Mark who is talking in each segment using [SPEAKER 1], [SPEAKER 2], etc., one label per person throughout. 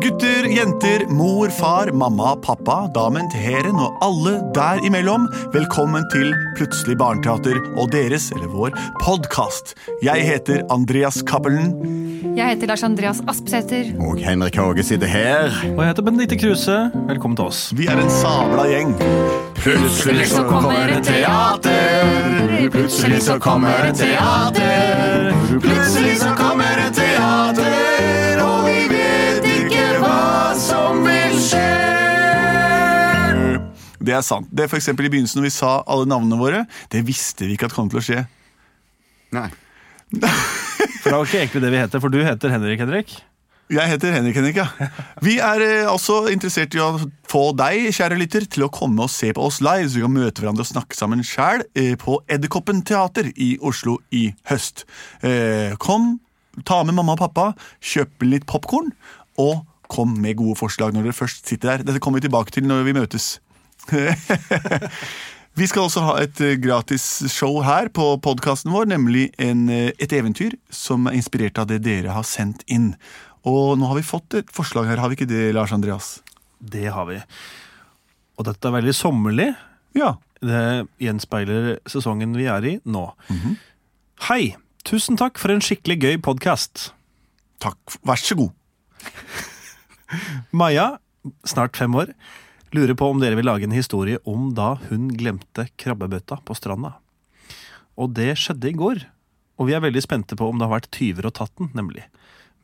[SPEAKER 1] Gutter, jenter, mor, far, mamma, pappa, damen til hæren og alle der imellom. Velkommen til Plutselig barneteater og deres, eller vår, podkast. Jeg heter Andreas Cappelen.
[SPEAKER 2] Jeg heter Lars Andreas Aspsæter.
[SPEAKER 3] Og Henrik Hage sitter her.
[SPEAKER 4] Og jeg heter Benedicte Kruse. Velkommen til oss.
[SPEAKER 1] Vi er en sabla gjeng.
[SPEAKER 3] Plutselig
[SPEAKER 2] så kommer det
[SPEAKER 3] teater.
[SPEAKER 2] Plutselig så kommer det
[SPEAKER 3] teater. Plutselig så kommer det teater, og vi vet ikke hva som vil skje.
[SPEAKER 1] Det er sant. Det er for eksempel I begynnelsen når vi sa alle navnene våre, det visste vi ikke at kom til å skje.
[SPEAKER 3] Nei.
[SPEAKER 4] For det er jo ikke egentlig det vi heter, for du heter Henrik Henrik.
[SPEAKER 1] Jeg heter Henrik Henrik, ja. Vi er eh, også interessert i å få deg, kjære lytter, til å komme og se på oss live, så vi kan møte hverandre og snakke sammen sjæl eh, på Edderkoppen teater i Oslo i høst. Eh, Kom, ta med mamma og pappa, kjøp litt popkorn, og kom med gode forslag når dere først sitter der. Dette kommer vi tilbake til når vi møtes. Vi skal også ha et eh, gratis show her på podkasten vår, nemlig en, eh, et eventyr som er inspirert av det dere har sendt inn. Og nå har vi fått et forslag her, har vi ikke det, Lars Andreas?
[SPEAKER 4] Det har vi. Og dette er veldig sommerlig.
[SPEAKER 1] Ja.
[SPEAKER 4] Det gjenspeiler sesongen vi er i nå. Hei! Tusen takk for en skikkelig gøy podkast.
[SPEAKER 1] Takk. Vær så god.
[SPEAKER 4] Maja, snart fem år, lurer på om dere vil lage en historie om da hun glemte krabbebøtta på stranda. Og det skjedde i går, og vi er veldig spente på om det har vært tyver og tatt den, nemlig.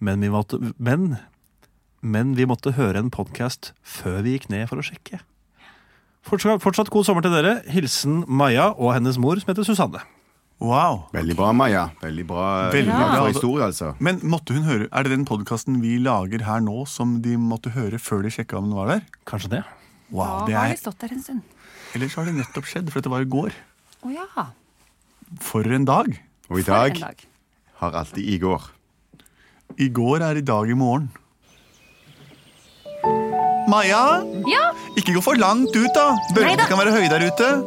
[SPEAKER 4] Men vi måtte, men, men vi måtte høre en podkast før vi gikk ned for å sjekke. Fortsatt, fortsatt god sommer til dere. Hilsen Maja og hennes mor, som heter Susanne.
[SPEAKER 1] Wow.
[SPEAKER 3] Veldig bra, Maja. Veldig bra,
[SPEAKER 1] Veldig bra.
[SPEAKER 3] bra historie, altså.
[SPEAKER 1] Men måtte hun høre, er det den podkasten vi lager her nå, som de måtte høre før de sjekka om den var der?
[SPEAKER 4] Kanskje det?
[SPEAKER 1] Wow, det
[SPEAKER 2] da har vi
[SPEAKER 1] er,
[SPEAKER 2] stått der en stund.
[SPEAKER 1] Ellers har det nettopp skjedd, for dette var i går.
[SPEAKER 2] Å ja. for
[SPEAKER 1] For en dag.
[SPEAKER 3] Og i
[SPEAKER 2] en
[SPEAKER 3] dag
[SPEAKER 2] dag.
[SPEAKER 3] har alltid i går.
[SPEAKER 1] I går er i dag i morgen. Maja?
[SPEAKER 2] Ja,
[SPEAKER 1] Ikke gå for langt ut, da. Bølgene
[SPEAKER 2] Neida.
[SPEAKER 1] kan være høye der ute.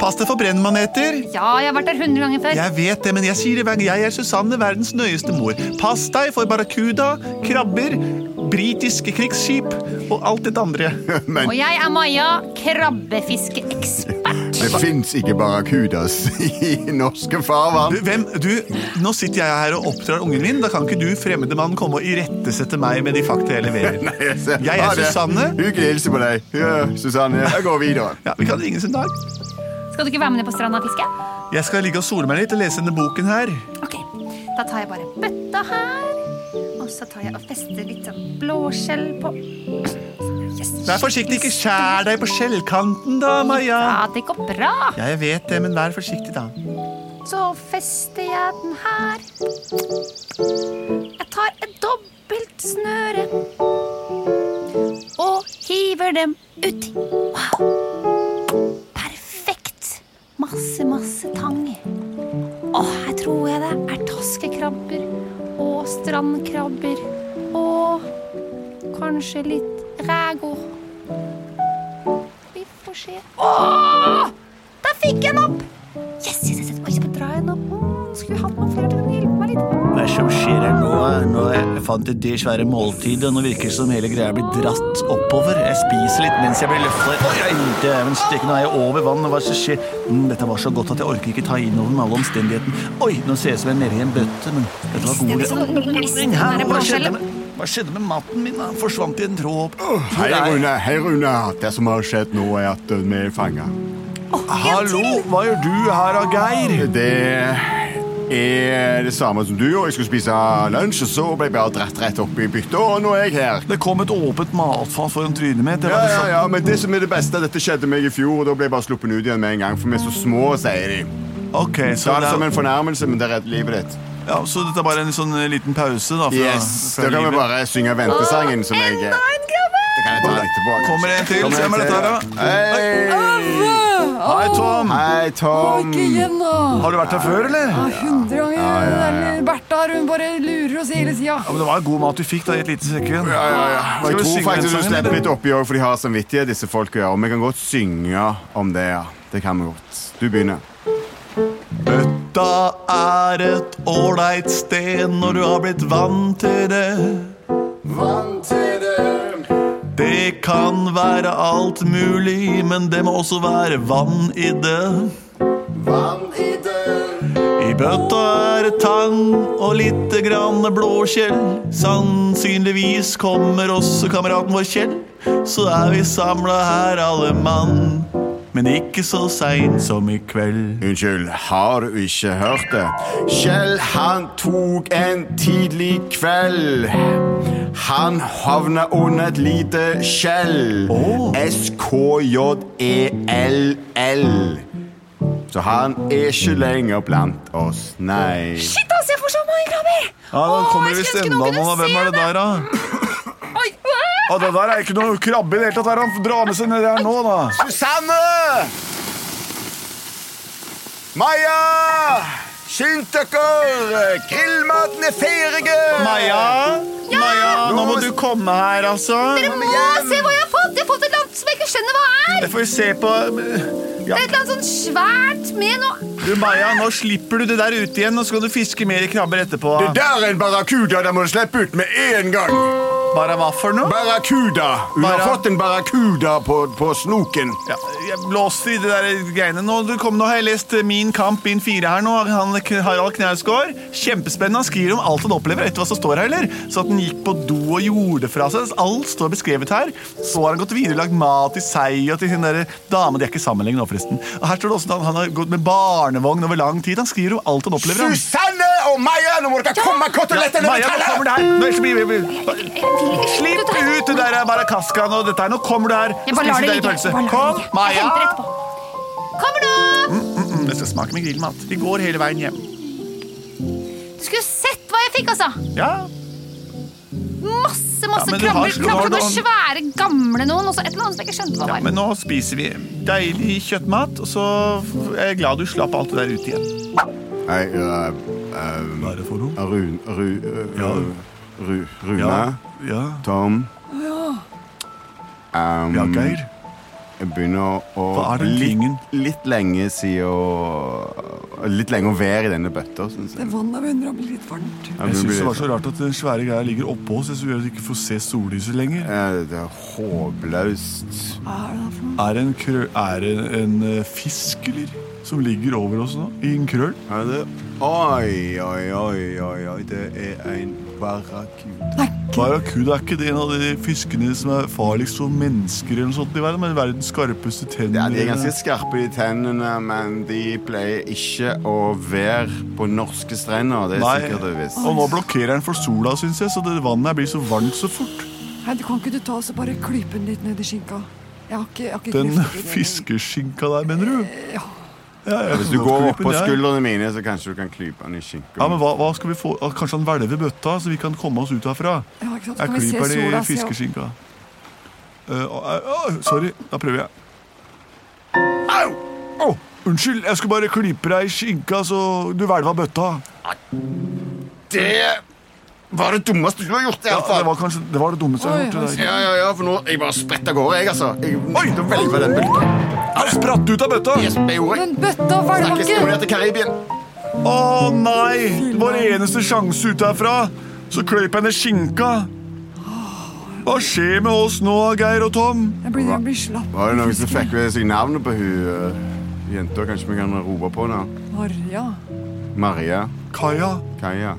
[SPEAKER 1] Pass deg for brennmaneter.
[SPEAKER 2] ja, jeg har vært der hundre ganger før.
[SPEAKER 1] Jeg vet det, men jeg sier det hver gang. Jeg er Susanne, verdens nøyeste mor. Pass deg for barrakuda, krabber, britiske krigsskip og alt det andre.
[SPEAKER 3] Men
[SPEAKER 2] Og jeg er Maja, krabbefiskeekspert.
[SPEAKER 3] det fins ikke barrakudas i norske
[SPEAKER 1] Du,
[SPEAKER 3] farvann.
[SPEAKER 1] hvem, du, nå sitter jeg her og oppdrar ungen min. Da kan ikke du, fremmede mann, komme og irettesette meg med de fakta jeg leverer.
[SPEAKER 3] Jeg ser-
[SPEAKER 1] Jeg er
[SPEAKER 3] Ha det.
[SPEAKER 1] Susanne.
[SPEAKER 3] Hyggelig å hilse på deg. Ja, Susanne, jeg går videre.
[SPEAKER 1] Ja, Vi kan ringe sin dag.
[SPEAKER 2] Skal du ikke være med ned på stranda og fiske?
[SPEAKER 1] Jeg skal ligge og sole meg litt og lese denne boken her.
[SPEAKER 2] Ok, da tar jeg bare bøtta her. Og så tar jeg og fester litt sånn blåskjell på. Yes.
[SPEAKER 1] Vær forsiktig, ikke skjær deg på skjellkanten, da, Maja.
[SPEAKER 2] Ja, det går bra.
[SPEAKER 1] Ja, jeg vet det, men vær forsiktig, da.
[SPEAKER 2] Så fester jeg den her. Jeg tar et dobbelt snøre og hiver dem uti. Wow. Perfekt. Masse, masse tang. Å, her tror jeg det er taskekrabber og strandkrabber og kanskje litt rægor. Vi får se. Å! Der fikk jeg den opp! Yes, yes, yes, yes. Oi, så drar jeg den opp. Mm, skulle hatt noen flere til å hjelpe meg litt.
[SPEAKER 1] Hva er det som skjer her nå? Nå jeg fant jeg det svære måltidet, og nå virker det som hele greia blir dratt oppover. Jeg spiser litt mens jeg blir løftet. Oi, oi, dæven steike, nå er jeg over vann. Hva er det som skjer? Mm, dette var så godt at jeg orker ikke ta inn over med alle omstendighetene. Oi, nå ser jeg ut som jeg er nede i en bøtte, men dette var
[SPEAKER 2] Stemmer
[SPEAKER 1] gode
[SPEAKER 2] sånn.
[SPEAKER 1] Men her,
[SPEAKER 2] Stemmer
[SPEAKER 1] Hva
[SPEAKER 2] blåskjellet.
[SPEAKER 1] skjedde med, hva skjedde med matten min? da? Han forsvant i en tråd.
[SPEAKER 3] Hei, Rune. Hei, Rune. Det som har skjedd nå, er at eh, vi er fanga.
[SPEAKER 1] hva gjør du her, Geir?
[SPEAKER 3] Det er det samme som du gjorde. Jeg skulle spise lunsj, og så ble jeg bare dratt rett opp i byttet, og nå er jeg her.
[SPEAKER 1] Det kom et åpent matfat foran trynet mitt.
[SPEAKER 3] Ja, ja, ja, men det som er det beste, dette skjedde meg i fjor, og da ble jeg bare sluppet ut igjen med en gang, for vi er så små, sier de.
[SPEAKER 1] Ok,
[SPEAKER 3] Ta det som en fornærmelse, men det redder livet ditt.
[SPEAKER 1] dette er bare en sånn liten pause da,
[SPEAKER 3] Yes, Da kan vi bare synge ventesangen som jeg
[SPEAKER 2] Enda en krabbe!
[SPEAKER 3] Det kan jeg ta litt tilbake.
[SPEAKER 1] Kommer det en til?
[SPEAKER 3] Kommer det
[SPEAKER 1] Hvem er dette her,
[SPEAKER 3] til? Hei!
[SPEAKER 1] Hei, Tom!
[SPEAKER 3] Hei, Tom.
[SPEAKER 5] Ikke igjen, da!
[SPEAKER 1] Har du vært her før, eller?
[SPEAKER 5] Ja, Hundre ganger. den der Bertha her, hun bare lurer oss hele tida.
[SPEAKER 1] Ja, men Det var god mat du fikk da, i et lite sekund.
[SPEAKER 3] Ja, ja, ja. Og
[SPEAKER 1] Skal vi
[SPEAKER 3] Jeg tror
[SPEAKER 1] synge den
[SPEAKER 3] faktisk du
[SPEAKER 1] sangen,
[SPEAKER 3] slipper
[SPEAKER 1] eller?
[SPEAKER 3] litt oppi òg, for de har samvittighet, disse folka. ja. Og vi kan godt synge om det, ja. Det kan vi godt. Du begynner.
[SPEAKER 1] Bøtta er et ålreit sted når du har blitt vant til det.
[SPEAKER 3] Vant til
[SPEAKER 1] kan være alt mulig, men det må også være vann i det.
[SPEAKER 3] Vann i dør.
[SPEAKER 1] I bøtta er det tang og lite grann blåskjell. Sannsynligvis kommer også kameraten vår Kjell. Så er vi samla her alle mann, men ikke så seint som i kveld.
[SPEAKER 3] Unnskyld, har du ikke hørt det? Kjell, han tok en tidlig kveld. Han havna under et lite skjell.
[SPEAKER 1] Åh.
[SPEAKER 3] S-K-J-E-L-L. E Så han er ikke lenger blant oss, nei.
[SPEAKER 5] Shit, ass, jeg får så mange krabber!
[SPEAKER 1] Ja,
[SPEAKER 5] Åh, jeg skulle ønske noen kunne se
[SPEAKER 1] er det der, da?
[SPEAKER 5] Oi, øh,
[SPEAKER 1] Ja, det der er ikke noe krabbe i det hele tatt. Han får dra med seg nedi her nå, da.
[SPEAKER 3] Susanne! Maja! Skynd dere! Grillmaten er ferdig!
[SPEAKER 1] Maja? Maja, nå må du komme her, altså.
[SPEAKER 5] Åh, se hva jeg har fått! Jeg har fått et eller annet som jeg ikke skjønner hva er!
[SPEAKER 1] Jeg får se på ja.
[SPEAKER 5] Det er et eller annet sånn svært med noe
[SPEAKER 1] Du, Maja, nå slipper du det der ut igjen, og så kan du fiske mer krabber etterpå.
[SPEAKER 3] Det der er en barracuda, den må du slippe ut med en gang.
[SPEAKER 1] Bare hva for noe?
[SPEAKER 3] Barracuda. Hun
[SPEAKER 1] Barra-
[SPEAKER 3] har fått en barracuda på, på snoken.
[SPEAKER 1] Ja, jeg blåser i det der greiene nå. Du kom nå, har jeg lest eh, Min kamp, min fire her nå. Han, K- Harald Knausgård. Kjempespennende. Han skriver om alt han opplever etter hva som står her, eller? Så at han gikk på do og gjorde fra seg. Alt står beskrevet her. Så har han gått videre og lagd mat til seg og til sin der dame. De er ikke sammen lenger nå, forresten. Og her står det også at han- han har gått med barnevogn over lang tid. Han skriver om alt han opplever. Han.
[SPEAKER 3] Susanne og Maja, nå må dere komme kotelettene
[SPEAKER 1] Maja, nå kommer det her! Nå ellers blir vi- vi-
[SPEAKER 2] Jeg vil ikke
[SPEAKER 1] Slipp
[SPEAKER 2] dette her.
[SPEAKER 1] ut det der barakaskaen og dette her. Nå kommer du her.
[SPEAKER 2] Jeg bare lar
[SPEAKER 1] Spis
[SPEAKER 2] det ligge.
[SPEAKER 1] deg pølse.
[SPEAKER 2] Jeg bare lar
[SPEAKER 1] Kom,
[SPEAKER 2] det ligge. Jeg
[SPEAKER 1] Maja.
[SPEAKER 2] henter etterpå.
[SPEAKER 5] Kommer nå!
[SPEAKER 1] Mm, Jeg skal smake med grillmat. Vi går hele veien hjem.
[SPEAKER 5] Du skulle sett hva jeg fikk, altså!
[SPEAKER 1] Ja,
[SPEAKER 5] Masse,
[SPEAKER 1] Ja,
[SPEAKER 5] masse
[SPEAKER 1] men du har-
[SPEAKER 5] krabber.
[SPEAKER 1] du har
[SPEAKER 5] Krabber
[SPEAKER 1] noen-
[SPEAKER 5] noen svære, gamle noen, og så et eller annet som jeg ikke skjønte
[SPEAKER 1] ja
[SPEAKER 5] hva var.
[SPEAKER 1] Men nå spiser vi deilig kjøttmat, og så er jeg glad du slapp alt det der ut igjen.
[SPEAKER 3] Nei, øh, øh,
[SPEAKER 1] Hva er det for noe?
[SPEAKER 3] Run... Ru, øh,
[SPEAKER 1] Ja.
[SPEAKER 3] Ru- Rune?
[SPEAKER 1] Ja. ja.
[SPEAKER 3] Tom? Um,
[SPEAKER 1] Ja, Geir.
[SPEAKER 3] Jeg begynner å
[SPEAKER 1] Hva er den tingen?
[SPEAKER 3] litt, litt lenge siden å Litt lenge å være i denne bøtta, syns jeg.
[SPEAKER 5] Vannet begynner å bli litt varmt.
[SPEAKER 3] Ja,
[SPEAKER 1] Jeg
[SPEAKER 3] du
[SPEAKER 1] syns
[SPEAKER 3] blir-
[SPEAKER 1] det var så rart at den svære greia ligger oppå oss, så gjør at vi ikke får se sollyset lenger.
[SPEAKER 3] Eh, Det er håpløst.
[SPEAKER 1] Er det en, krø er det en eh, fisk, eller? Som ligger over oss nå? I en krøll?
[SPEAKER 3] Er det Oi, oi, oi, oi, oi. Det er en barracuda.
[SPEAKER 1] Barracuda er ikke det en av de fiskene som er farligst for mennesker eller noe sånt i verden, men verdens skarpeste tenner.
[SPEAKER 3] Ja, de er ganske skarpe i tennene, men de pleier ikke å være på norske strender. Det er
[SPEAKER 1] Nei,
[SPEAKER 3] sikkert og visst.
[SPEAKER 1] og nå blokkerer den for sola, syns jeg, så det vannet her blir så varmt så fort.
[SPEAKER 6] Hei, du Kan ikke du ta oss og bare klype den litt ned i skinka? Jeg har ikke, jeg har ikke
[SPEAKER 1] Den
[SPEAKER 6] krefter til det.
[SPEAKER 1] fiskeskinka der, mener du? Ja, jeg
[SPEAKER 3] Hvis
[SPEAKER 1] kan
[SPEAKER 3] du
[SPEAKER 1] godt
[SPEAKER 3] går
[SPEAKER 1] gripe
[SPEAKER 3] opp
[SPEAKER 1] den,
[SPEAKER 3] på
[SPEAKER 1] jeg.
[SPEAKER 3] skuldrene mine, så kanskje du kan klype den i skinka.
[SPEAKER 1] Ja, men hva, hva skal vi få? Ah, Kanskje han hvelver bøtta, så vi kan komme oss ut herfra?
[SPEAKER 6] Ja, ikke sant? Så
[SPEAKER 1] Jeg
[SPEAKER 6] kan vi se
[SPEAKER 1] klyper den i
[SPEAKER 6] sola, se opp.
[SPEAKER 1] fiskeskinka. Eh, å, au, au, sorry, da prøver jeg. Au! Å, unnskyld, jeg skulle bare klype deg i skinka, så du hvelva bøtta.
[SPEAKER 3] Det var det dummeste du har gjort, i
[SPEAKER 1] Ja,
[SPEAKER 3] hvert fall.
[SPEAKER 1] det var kanskje det, var det dummeste jeg har
[SPEAKER 6] Oi,
[SPEAKER 1] gjort. det der.
[SPEAKER 3] Ja, ja, ja, for nå Jeg bare spretter av gårde, jeg, altså. Jeg,
[SPEAKER 1] Oi!
[SPEAKER 3] nå velver den bølgen.
[SPEAKER 1] Han spratt ut av bøtta!
[SPEAKER 3] Yes, jeg gjorde jeg.
[SPEAKER 6] Men bøtta hvelva
[SPEAKER 3] Snakkes
[SPEAKER 6] ikke!
[SPEAKER 3] ned til Karibien.
[SPEAKER 1] Å nei! Vår eneste sjanse ut herfra. Så kløyp henne skinka. Hva skjer med oss nå, Geir og Tom?
[SPEAKER 6] Jeg blir, jeg blir slapp.
[SPEAKER 3] Var det noen som fikk med seg navnet på hun eh, jenta? Kanskje vi kan rope på henne?
[SPEAKER 6] Marja.
[SPEAKER 3] Maria
[SPEAKER 1] Kaja?
[SPEAKER 3] Kaja.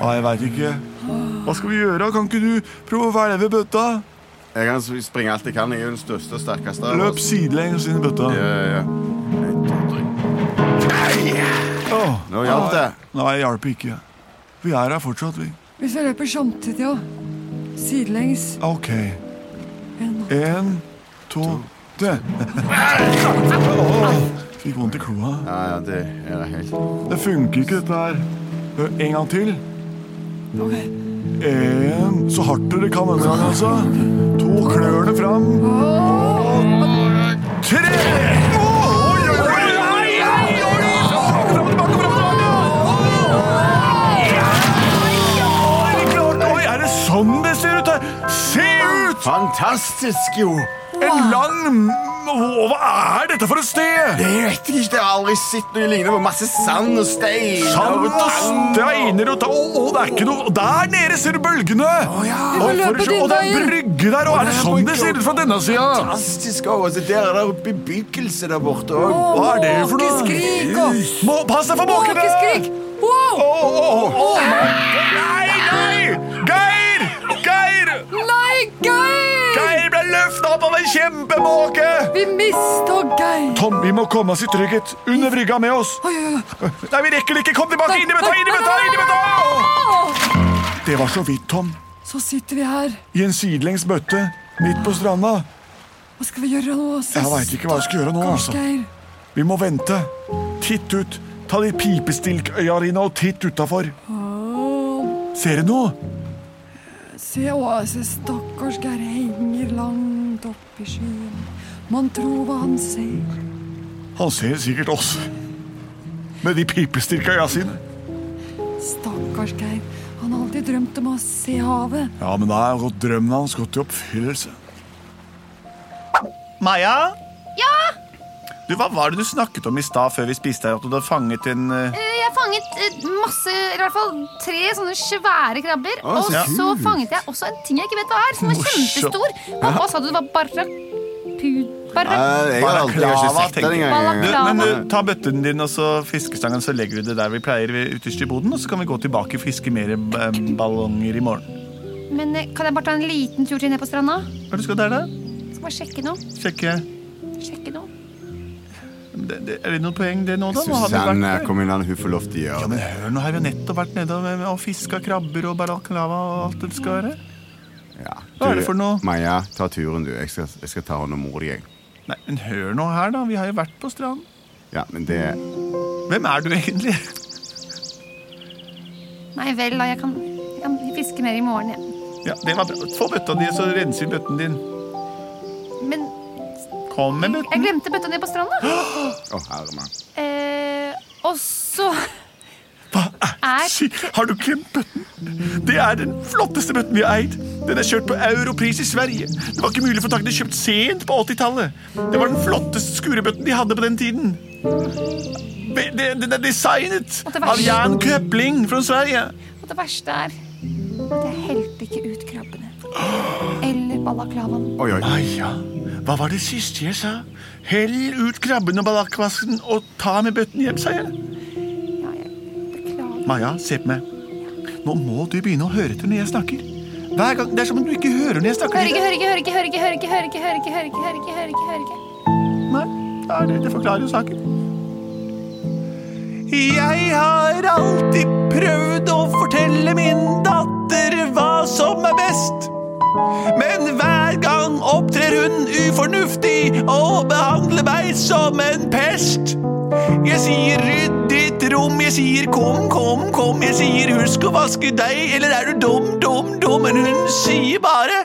[SPEAKER 1] Ja, jeg veit ikke. Hva skal vi gjøre? Kan ikke du prøve å hvelve bøtta?
[SPEAKER 3] Jeg kan springe alt jeg kan. Jeg er jo den største og sterkeste av
[SPEAKER 1] Løp
[SPEAKER 3] oss.
[SPEAKER 1] sidelengs inn i bøtta.
[SPEAKER 3] Ja, ja, ja. En, to, tre.
[SPEAKER 1] Åh,
[SPEAKER 3] Nå hjalp det.
[SPEAKER 1] Nei, jeg hjalp ikke. Vi er her fortsatt, vi.
[SPEAKER 6] Hvis vi løper samtidig, ja. Sidelengs.
[SPEAKER 1] Ah, OK.
[SPEAKER 6] En.
[SPEAKER 1] Én, to, tre. Åh, Fikk vondt i kloa.
[SPEAKER 3] Ja, ja, det er helt
[SPEAKER 1] Det funker ikke, dette her. Hør, En gang til.
[SPEAKER 6] Ok.
[SPEAKER 1] En, så hardt dere kan denne gangen, altså. To klørne fram. Og tre! Oi, er det så sånn det ser ut her! Se ut!
[SPEAKER 3] Fantastisk, jo!
[SPEAKER 1] En lang m- Å, Hva er dette for et sted?
[SPEAKER 3] Det vet jeg ikke. Jeg har aldri sett noe lignende på masse sand og stein.
[SPEAKER 1] Sand og steiner og ta- Å, å, det er ikke noe Der nede ser du bølgene! Å,
[SPEAKER 3] ja.
[SPEAKER 1] for å
[SPEAKER 5] løpe
[SPEAKER 1] se- å, det er en
[SPEAKER 5] din
[SPEAKER 1] brygge der, og er det
[SPEAKER 3] det er
[SPEAKER 1] sånn
[SPEAKER 3] brygge.
[SPEAKER 1] det ser ut fra denne sida?
[SPEAKER 3] Fantastisk. Og så der er det bebyggelse der borte òg.
[SPEAKER 1] Hva er det for noe?
[SPEAKER 5] Måkeskrik og
[SPEAKER 1] Må, pass deg for måkene!
[SPEAKER 5] Måkeskrik! Wow!
[SPEAKER 1] Å, å, å, Nei, nei! Geir! Geir!
[SPEAKER 5] Nei, Geir!
[SPEAKER 1] Geir ble løfta opp av en kjempemåke!
[SPEAKER 5] Vi mista Geir.
[SPEAKER 1] Tom, vi må komme oss i trygghet. Under brygga med oss.
[SPEAKER 5] Oi, oi, oi.
[SPEAKER 1] Nei, vi rekker det ikke! Kom tilbake! Inn i bøtta! Inn i bøtta! inn i bøtta! Det var så vidt, Tom.
[SPEAKER 5] Så sitter vi her.
[SPEAKER 1] I en sidelengs bøtte midt på stranda.
[SPEAKER 5] Hva skal vi gjøre nå? Sist?
[SPEAKER 1] Jeg veit ikke hva jeg skal gjøre nå. altså.
[SPEAKER 5] Geir.
[SPEAKER 1] Vi må vente. Titt ut. Ta de pipestilkøya dine og titt utafor. Ser du noe?
[SPEAKER 5] Se, å, se, stakkars Geir henger langt opp i skyen. Man tror hva han ser.
[SPEAKER 1] Han ser sikkert oss. Med de pipestilkøya sine.
[SPEAKER 5] Stakkars Geir. Han har alltid drømt om å se havet.
[SPEAKER 1] Ja, men da er jo drømmen hans gått i oppfyllelse. Maja?
[SPEAKER 2] Ja,
[SPEAKER 1] Du, Hva var det du snakket om i stad før vi spiste her? At du hadde fanget en eh,
[SPEAKER 2] eh, jeg fanget eh, masse, eller i hvert fall tre sånne svære krabber.
[SPEAKER 3] Å,
[SPEAKER 2] Og
[SPEAKER 3] så
[SPEAKER 2] så
[SPEAKER 3] kult.
[SPEAKER 2] fanget jeg også en ting jeg ikke vet hva er, som var
[SPEAKER 1] Morsomt.
[SPEAKER 2] kjempestor. Pappa sa du det var barrakud... Barra...
[SPEAKER 3] Eh, Jeg har aldri jeg har ikke sett den
[SPEAKER 1] du,
[SPEAKER 2] Balaklava.
[SPEAKER 3] engang.
[SPEAKER 1] men du, Ta bøtten din og så fiskestangen, så legger du det der vi pleier ved- ytterst i boden. Og så kan vi gå tilbake og fiske mer eh, ballonger i morgen.
[SPEAKER 2] Men eh, kan jeg bare ta en liten tur til ned på stranda?
[SPEAKER 1] Hva er det du skal der, da?
[SPEAKER 2] Skal bare sjekke noe.
[SPEAKER 1] Sjekke
[SPEAKER 2] Sjekke noe.
[SPEAKER 1] det, det, Er det noe poeng, det nå, da? Nå har vi vært
[SPEAKER 3] Susanne,
[SPEAKER 1] der.
[SPEAKER 3] kom inn, han, hun får lov til å
[SPEAKER 1] Ja,
[SPEAKER 3] gjøre det.
[SPEAKER 1] men hør, nå har vi jo nettopp vært nede og, og fiska krabber og balaklava og alt det skal være.
[SPEAKER 3] Ja.
[SPEAKER 1] Hva er
[SPEAKER 3] Du,
[SPEAKER 1] det for noe?
[SPEAKER 3] Maja, ta turen, du. Jeg skal, jeg skal ta hånd om mor di. jeg.
[SPEAKER 1] Nei, men hør nå her, da. Vi har jo vært på stranden.
[SPEAKER 3] Ja, men det
[SPEAKER 1] Hvem er du egentlig?
[SPEAKER 2] Nei vel, da. Jeg kan, jeg kan fiske mer i morgen, jeg.
[SPEAKER 1] Ja, det var bra. Få bøtta di, så renser vi bøtten din.
[SPEAKER 2] Men
[SPEAKER 1] Kom med bøtten.
[SPEAKER 2] jeg glemte bøtta ned på stranda.
[SPEAKER 3] Å, herre mann.
[SPEAKER 2] Eh, og så
[SPEAKER 1] Hva er
[SPEAKER 2] Er-
[SPEAKER 1] Si, Har du glemt bøtten? Det er den flotteste bøtten vi har eid. Den er kjørt på europris i Sverige. Det var ikke mulig å få tak i den kjøpt sent på 80-tallet. Det var den flotteste skurebøtten de hadde på den tiden. Be- det- Den er designet
[SPEAKER 2] Og det var
[SPEAKER 1] av
[SPEAKER 2] så-
[SPEAKER 1] Jan Köpling fra Sverige.
[SPEAKER 2] Og det verste er at jeg helte ikke ut krabbene. Eller balaklavaen.
[SPEAKER 3] Oi, oi.
[SPEAKER 1] Ah, ja. Hva var det siste jeg sa? Hell ut krabben og ballakvasken og ta med bøtten hjem, sa jeg.
[SPEAKER 2] Ja, jeg beklager.
[SPEAKER 1] Maja, se på meg. Nå må du begynne å høre etter når jeg snakker. Hver gang, Det er som om du ikke hører når jeg snakker.
[SPEAKER 2] Hører ikke, hører ikke, hører ikke, hører ikke, hører ikke, hører ikke, hører ikke, hører ikke, hører ikke, hører ikke, hører ikke.
[SPEAKER 1] Nei, det, er det. det forklarer jo saken. Jeg har alltid prøvd å fortelle min datter hva som er best. Men hver gang opptrer hun ufornuftig og behandler meg som en pest. Jeg sier rydd ditt rom, jeg sier kom, kom, kom. Jeg sier husk å vaske deg, eller er du dum, dum, dum? Men hun sier bare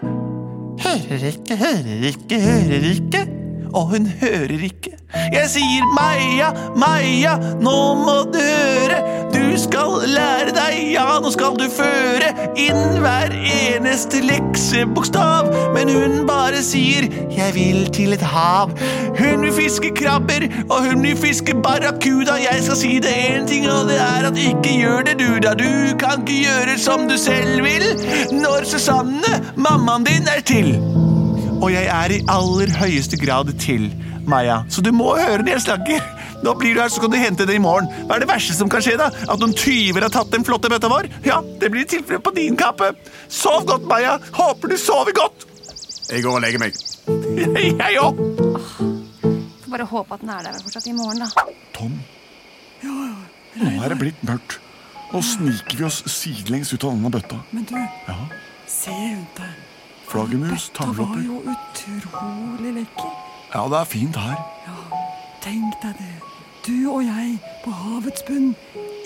[SPEAKER 1] Hører ikke, hører ikke, hører ikke. Og hun hører ikke. Jeg sier Maja, Maja, nå må du høre. Du skal lære deg, ja, nå skal du føre inn hver eneste leksebokstav. Men hun bare sier jeg vil til et hav. Hun vil fiske krabber, og hun vil fiske barrakuda. Jeg skal si det én ting, og det er at ikke gjør det du, da. Du kan ikke gjøre som du selv vil når Susanne, mammaen din, er til. Og jeg er i aller høyeste grad til, Maja. Så du må høre når jeg snakker. Nå blir du her, så kan du hente det i morgen. Hva er det verste som kan skje, da? At noen tyver har tatt den flotte bøtta vår? Ja, det blir tilfellet på din kappe. Sov godt, Maja. Håper du sover godt.
[SPEAKER 3] Jeg går og legger meg.
[SPEAKER 1] Jeg òg.
[SPEAKER 2] Får bare håpe at den er der fortsatt i morgen, da.
[SPEAKER 1] Tom, nå er det blitt mørkt. Nå sniker vi oss sidelengs ut av denne bøtta.
[SPEAKER 5] Men du,
[SPEAKER 1] Ja,
[SPEAKER 5] se rundt deg.
[SPEAKER 1] Flaggermus,
[SPEAKER 5] Dette var jo utrolig lekker.
[SPEAKER 1] Ja, det er fint her.
[SPEAKER 5] Tenk deg det. Du og jeg på havets bunn.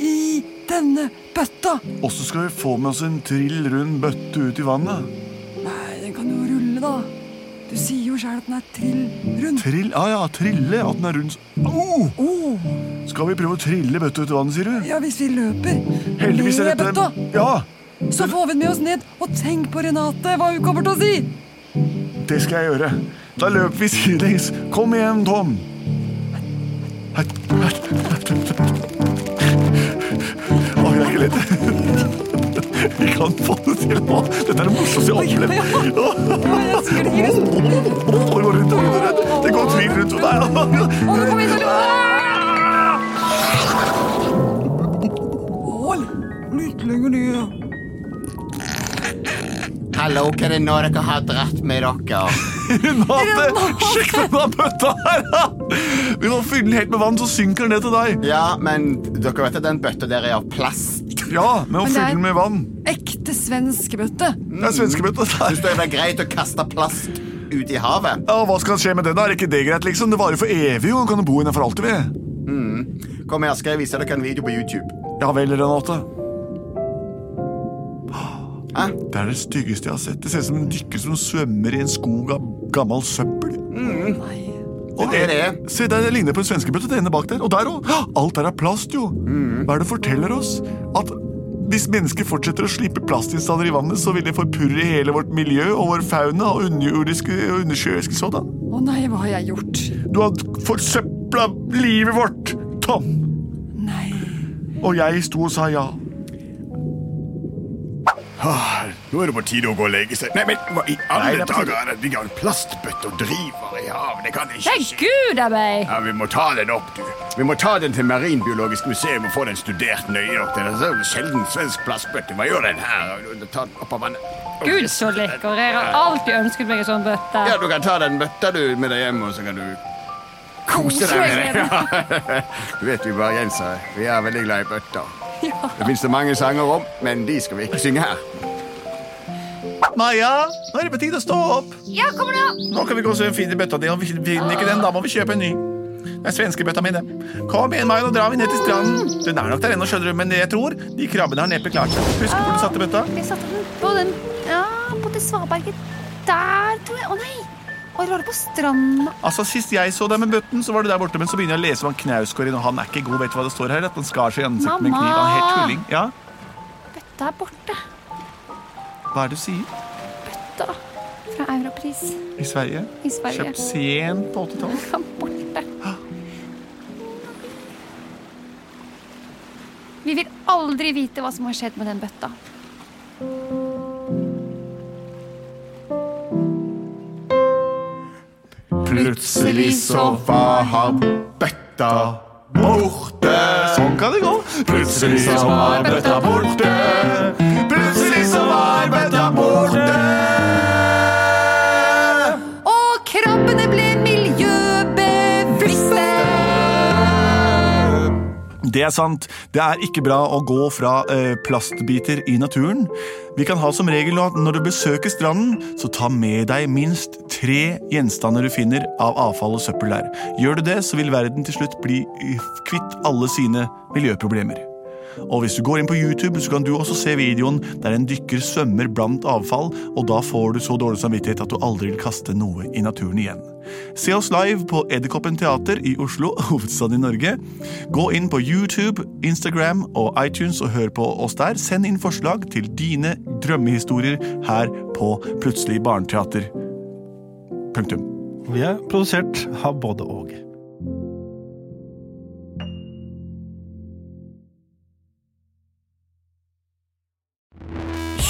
[SPEAKER 5] I denne bøtta.
[SPEAKER 1] Og så skal vi få med oss en trill rund bøtte ut i vannet.
[SPEAKER 5] Nei, den kan jo rulle, da. Du sier jo sjøl at den er trill rundt.
[SPEAKER 1] Trill, ja ja, trille, at den er rund s- Au!
[SPEAKER 5] Oh,
[SPEAKER 1] Skal vi prøve å trille bøtta ut i vannet, sier du?
[SPEAKER 5] ja, hvis vi løper
[SPEAKER 1] Heldigvis er
[SPEAKER 5] med
[SPEAKER 1] dette
[SPEAKER 5] bøtta,
[SPEAKER 1] Ja,
[SPEAKER 5] Så får vi den med oss ned, og tenk på Renate, hva hun kommer til å si!
[SPEAKER 1] Det skal jeg gjøre. Da løper vi sidelengs. Kom igjen, Tom. Å, jeg er ikke lett. Vi kan få det til nå. Dette er det morsomste jeg har opplevd. Åh, Det går rundt og rundt og rundt. Det går tvil rundt og
[SPEAKER 5] Å, nå kommer vi til å
[SPEAKER 6] Ål, litt lenger ned.
[SPEAKER 3] Hallo, hva er det nå dere har dratt med dere?
[SPEAKER 1] Renate, sjekk denne bøtta her. da. Vi må fylle den helt med vann, så synker den ned til deg.
[SPEAKER 3] Ja, men dere vet at den bøtta der er av plast.
[SPEAKER 1] Ja, med å
[SPEAKER 5] Men det
[SPEAKER 1] fylle
[SPEAKER 5] er-
[SPEAKER 1] den med vann.
[SPEAKER 5] Ekte svensk bøtte.
[SPEAKER 1] Det er svenskebøtta. det
[SPEAKER 3] Syns
[SPEAKER 1] her.
[SPEAKER 3] dere det er greit å kaste plast ut i havet?
[SPEAKER 1] Ja, Hva skal skje med den? da? Er ikke det greit, liksom? Det varer for evig, jo. Den Kan jo bo inne for alltid, vi.
[SPEAKER 3] Kom her, skal jeg vise dere en video på YouTube.
[SPEAKER 1] Ja vel, Renate.
[SPEAKER 3] Hæ?
[SPEAKER 1] Det er det styggeste jeg har sett. Det ser ut som en dykker som svømmer i en skog av gammel søppel. Og
[SPEAKER 3] Mm. Det er
[SPEAKER 1] det,
[SPEAKER 3] det.
[SPEAKER 1] se, der, det ligner på en svenskebøtte, det ene bak der. Og der òg. Alt der er plast, jo.
[SPEAKER 3] Mm.
[SPEAKER 1] Hva er det forteller oss? At hvis mennesker fortsetter å slippe plastinnstander i vannet, så vil det forpurre hele vårt miljø og vår fauna og underjordiske og undersjøiske sådan.
[SPEAKER 5] Å nei, hva har jeg gjort?
[SPEAKER 1] Du har forsøpla livet vårt, Tom.
[SPEAKER 5] Nei.
[SPEAKER 1] Og jeg sto og sa ja.
[SPEAKER 7] Nå er det på tide å gå og legge seg. Nei, men hva i alle
[SPEAKER 3] Nei, det er på tide.
[SPEAKER 7] dager er det de har en plastbøtte og driver i havet? Det kan ikke
[SPEAKER 2] Nei,
[SPEAKER 7] skje.
[SPEAKER 2] gud a meg!
[SPEAKER 7] Ja, Vi må ta den opp, du. Vi må ta den til Marinbiologisk museum og få den studert nøye opp. Det er en sjelden svensk plastbøtte. Hva gjør den her? Ta den opp av vannet.
[SPEAKER 2] Gud, så lekker. Jeg har alltid ønsket meg en sånn bøtte.
[SPEAKER 3] Ja, du kan ta den bøtta du med deg hjem, og så kan du kose deg med det. Ja. Du vet vi bergensere, vi er veldig glad i bøtter. Det fins det mange sanger om, men de skal vi ikke synge her.
[SPEAKER 1] Maja, nå er det på tide å stå opp.
[SPEAKER 2] Ja, kom nå!
[SPEAKER 1] Nå kan vi gå og se om vi finner bøtta di, og finner vi ikke den, da må vi kjøpe en ny. Det er svenskebøtta mi, det. Kom igjen, Maja, nå drar vi ned til stranden. Den er nok der ennå, skjønner du, men jeg tror de krabbene har neppe klart seg. Husker du hvor du satte bøtta?
[SPEAKER 2] Jeg satte den på den Ja, på det svaberget der, tror jeg. Å nei! Og jeg lå på stranda.
[SPEAKER 1] Altså, Sist jeg så deg med bøtten, så var du der borte, men så begynner jeg å lese om han Knausgård inn, og han er ikke god, vet du hva det står her? At han skar seg i ansiktet med en
[SPEAKER 2] Mamma!
[SPEAKER 1] kniv. Han er helt tulling. Ja,
[SPEAKER 2] Bøtta er borte.
[SPEAKER 1] hva er det du sier?
[SPEAKER 2] Da. Fra Europris
[SPEAKER 1] I Sverige?
[SPEAKER 2] i Sverige.
[SPEAKER 1] Kjøpt sent på 80-tallet?
[SPEAKER 2] Den er borte. Vi vil aldri vite hva som har skjedd med den bøtta.
[SPEAKER 3] Plutselig så var bøtta borte.
[SPEAKER 1] Sånn kan det gå.
[SPEAKER 3] Plutselig så var bøtta borte. Plutselig så var bøtta borte.
[SPEAKER 5] Og krabbene ble miljøbevisste!
[SPEAKER 1] Det er sant. Det er ikke bra å gå fra eh, plastbiter i naturen. Vi kan ha som regel at når du besøker stranden, så ta med deg minst tre gjenstander du finner av avfall og søppel der. Gjør du det, så vil verden til slutt bli eh, kvitt alle sine miljøproblemer. Og hvis du går inn på YouTube, så kan du også se videoen der en dykker svømmer blant avfall, og da får du så dårlig samvittighet at du aldri vil kaste noe i naturen igjen. Se oss live på Edderkoppen teater i Oslo, hovedstaden i Norge. Gå inn på YouTube, Instagram og iTunes og hør på oss der. Send inn forslag til dine drømmehistorier her på Plutselig barneteater. Punktum.
[SPEAKER 4] Vi er produsert av både og.